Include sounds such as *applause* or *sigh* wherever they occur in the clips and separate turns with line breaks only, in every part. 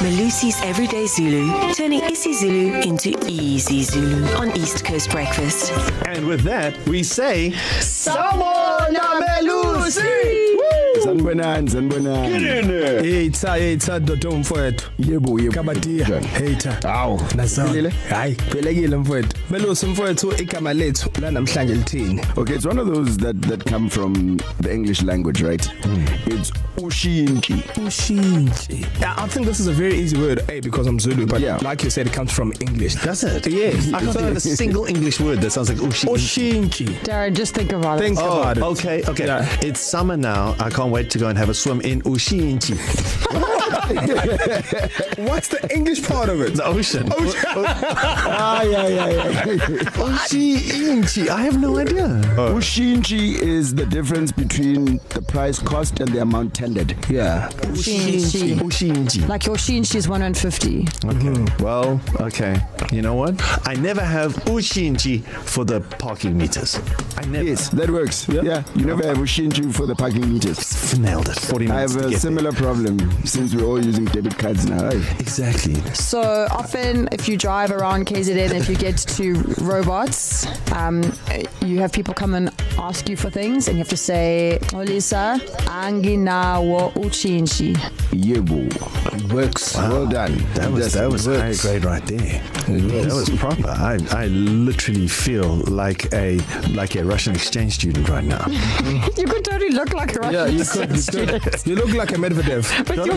Malusi's Everyday Zulu, turning isiZulu into easy Zulu on East Coast Breakfast.
And with that, we say,
Sabona Melusi.
sanibonani sanibonani
Kilini.
yeyitha yeyitha dodo mfowethu
Yebo yebo.
kabatiya hater
Hawu.
nasile
Uphelile?
hayi phelekile mfowethu melusi mfowethu igama lethu la namhlanje lithini
Okay, it's one of those that that come from the English language, right?
Hmm.
Mm. It's ushinki.
ushintshe i think this is a very easy word hey because i'm zulu but yeah.
Yeah.
like you said it comes from english
That's it.
Yes.
I can't think of a single English word that sounds like ushi.
ushintshe
Darren, just think about it.
think oh, about it
Okay, okay.
Yeah.
Yeah. It's summer now. I can't wait to go and have a swim in Ushiinchi,
what's the english part of it
the ocean. Oh,
Ay ay ay.
*laughs* Ushiinchi. I have no idea.
Oh. Ushinki is the difference between the price cost and the amount tendered.
yeah
She- she-
Ushiinchi.
Like your she and she's 150.
Okay. Well, okay. You know what? I never have Ushiinchi for the parking meters. I never.
Yes, that works. Yeah, yeah you never have ushinki for the parking meters.
Nailed it. 40
I
minutes.
have
to
a
get there.
similar problem since we're all using debit cards now. Ay.
*laughs* Exactly.
So often, if you drive around KZN, if you get to robots, um, you have people come and ask you for things, and you have to say, "Oh, Olisa, anginawo uchinshi.
Yebo.
works
Wow. Well done.
That was
Just
that was high
works.
grade right there. That was proper. I, I literally feel like a like a Russian exchange student right now.
*laughs* You could totally look like a Russian
yeah
*laughs*
you could, you,
student
could. you look like a medvedev
with your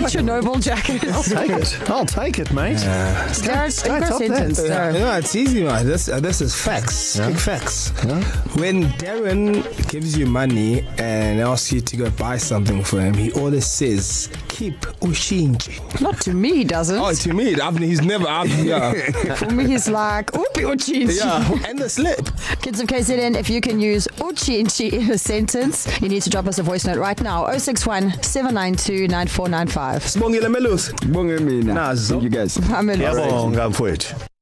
*laughs*
Chernobyl jacket.
I'll take it. I'll take it, mate. Yeah.
Derek,
Sky
your
top that.
sentence.
Yeah,
Derek.
no, it's easy, man. This uh, this is facts. Yeah. Big facts. Yeah. When Darren gives you money and asks you to go buy something for him, he always says, "Keep ushinji."
Not to me, doesn't.
Oh, to me, I've, he's never. I've, *laughs* yeah,
For me, he's like, upi uchinshi.
yeah, and the slip.
Kids of KZN, if you can use uchi inchi in a sentence, you need to drop us a voice note right now 061 792 9495.
Sibongile melusi.
Bonge mina.
Nazo.
Thank you guys.
I'm in-
Yabonga mfowethu.